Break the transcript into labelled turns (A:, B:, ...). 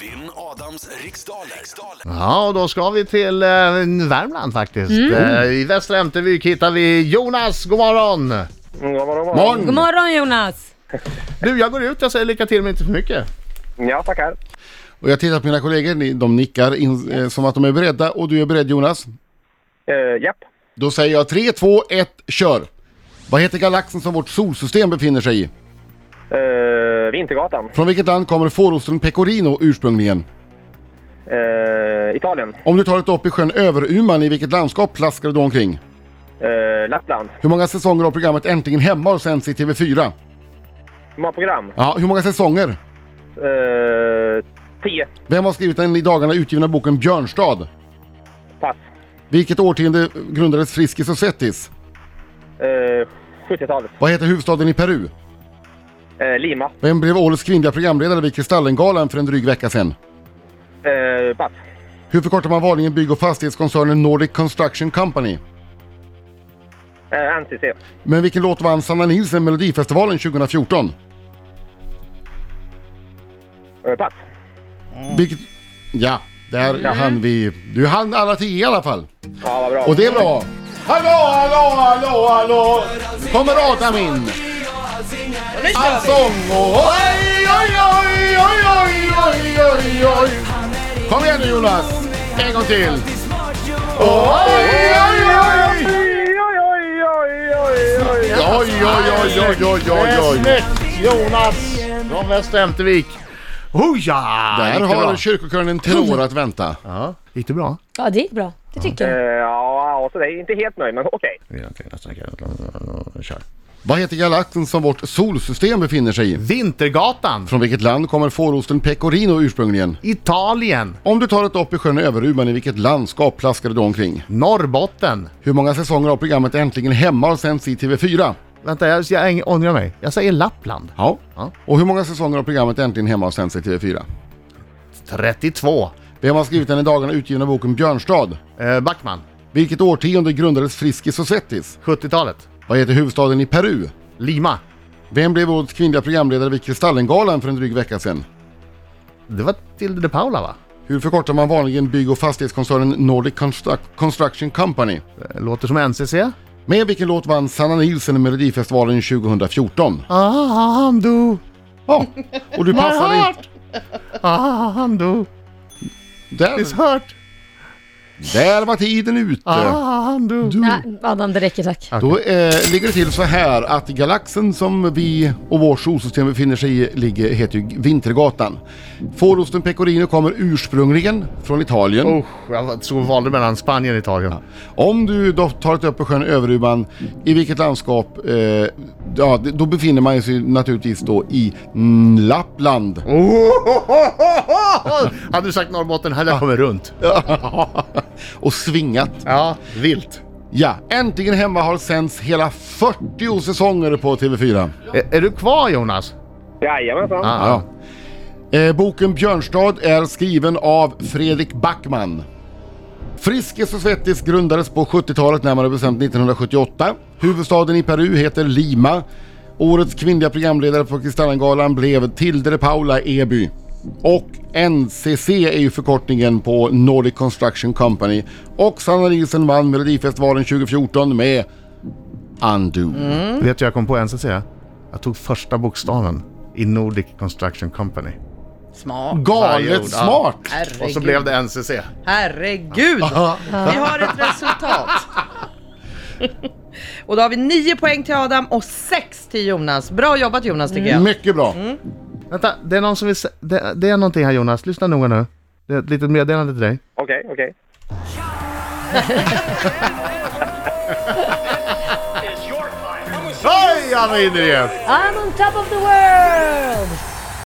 A: Vinn Adams riksdaler. riksdaler.
B: Ja, och då ska vi till eh, Värmland faktiskt. Eh, I Västra Ämtervik hittar vi Jonas, god morgon!
C: Mm, Ja, vadå, vadå?
B: Morgon!
D: God morgon Jonas!
B: Du, jag går ut, jag säger lycka till men inte för mycket.
C: Ja, tackar.
E: Och jag tittar på mina kollegor, ni- de nickar in, eh, som att de är beredda och du är beredd Jonas.
C: Uh, japp.
E: Då säger jag 3, 2, 1, kör! Vad heter galaxen som vårt solsystem befinner sig i?
C: Eh, Vintergatan.
E: Från vilket land kommer fårosten pecorino ursprungligen?
C: Eh, Italien.
E: Om du tar ett dopp i sjön Överuman, i vilket landskap plaskar du då omkring?
C: Eh, Lappland.
E: Hur många säsonger har programmet Äntligen Hemma och sänds i TV4?
C: Matprogram.
E: Ja, hur många säsonger?
C: Eh, 10.
E: Vem har skrivit den i dagarna utgivna boken Björnstad?
C: Pass.
E: Vilket årtionde grundades Friskis och Svettis?
C: Eh, 70-talet.
E: Vad heter huvudstaden i Peru?
C: Eh, Lima.
E: Vem blev årets kvinnliga programledare vid Kristallengalan för en dryg vecka sedan?
C: Eh, pass.
E: Hur förkortar man vanligen bygg och fastighetskoncernen Nordic Construction Company?
C: Eh, NCC.
E: Men vilken låt vann Sanna Nielsen Melodifestivalen 2014?
C: Eh, pass.
E: Vilket... Ja, där hann vi... Du hann alla tio i alla fall.
C: Ja, vad bra.
E: Och det är bra. Hallå, hallå, hallå, hallå! Nu kommer Adam in. Allsång och oj, oj, oj, oj, oj, oj, oj, oj. Kom igen nu Jonas. En gång till. Oj, oj, oj.
C: Oj, oj, oj, oj, oj, oj.
E: Oj, oj, oj, oj, oj,
B: Det
E: oj,
B: är
E: oj.
B: snyggt Jonas från Västra Ämtervik. Hoja!
E: Där
B: Gick det bra?
E: har kyrkokören en tenor att vänta.
B: Ja, gick det bra?
D: Ja det gick bra, det tycker
C: Eh,
D: jag.
C: Ja, alltså, det är inte helt nöjd, men okej.
B: Kör.
E: Vad heter galaxen som vårt solsystem befinner sig i?
B: Vintergatan,
E: Från vilket land kommer fårosten pecorino ursprungligen?
B: Italien,
E: Om du tar ett dopp i sjön Överuman, i vilket landskap plaskar du då omkring?
B: Norrbotten.
E: Hur många säsonger av programmet Äntligen Hemma har sänds i TV4?
B: Vänta, jag, jag ångrar mig. Jag säger Lappland.
E: Ja.
B: Ja.
E: Och hur många säsonger av programmet Äntligen Hemma har sänds i TV4?
B: 32.
E: Vem har skrivit den i dagarna utgivna boken Björnstad?
B: Eh, Backman,
E: Vilket årtionde grundades Friskis och Svettis?
B: 70-talet.
E: Vad heter huvudstaden i Peru?
B: Lima.
E: Vem blev årets kvinnliga programledare vid Kristallengalan för en dryg vecka sedan?
B: Det var Tilde de Paula va?
E: Hur förkortar man vanligen bygg och fastighetskoncernen Nordic Construct- Construction Company?
B: Eh, Låter som NCC.
E: Med vilken låt vann Sanna Nielsen Melodifestivalen 2014?
B: Ahando,
E: Ja, och du passade in...
B: ahando,
E: Där,
B: it's hurt,
E: där var tiden ute.
B: ahando.
D: Nej, Adam det räcker tack.
E: Då eh, ligger det till så här att galaxen som vi och vårt solsystem befinner sig i ligger, heter ju Vintergatan. Fårosten pecorino kommer ursprungligen från Italien.
B: Usch, jag tror jag valde mellan Spanien och Italien.
E: Om du då tar ett upp på sjön Överuban, i vilket landskap? Eh, ja, d- då befinner man sig naturligtvis då i mm, Lappland.
B: Ohohohoho! Hade du sagt Norrbotten hade jag kommit runt.
E: och svingat.
B: Ja, vilt.
E: Ja, Äntligen Hemma har sänds hela 40 säsonger på TV4.
B: Är, är du kvar Jonas?
C: Jajamensan.
B: Ah,
E: Ja. Eh, boken Björnstad är skriven av Fredrik Backman. Friskis och Svettis grundades på 70-talet, närmare bestämt 1978. Huvudstaden i Peru heter Lima. Årets kvinnliga programledare på Kristallengalan blev Tilde de Paula Eby. Och NCC är ju förkortningen på Nordic Construction Company. Och Sanna Nielsen vann Melodifestivalen 2014 med Undo.
B: Vet du jag kom på NCC? Jag tog första bokstaven i Nordic Construction Company.
F: Smart.
B: Varje ord,
E: Galet
B: ja.
E: smart!
F: Herregud.
B: Och så blev det NCC.
F: Herregud! Vi har ett resultat. Och då har vi 9 poäng till Adam och 6 till Jonas. Bra jobbat Jonas tycker jag.
E: Mycket bra!
B: Vänta, det är någon som vill sä- det, det är någonting här Jonas, lyssna noga nu. Det är ett litet meddelande till dig.
C: Okej, okej.
B: Oj, han var inne igen!
D: I'm on top of the world!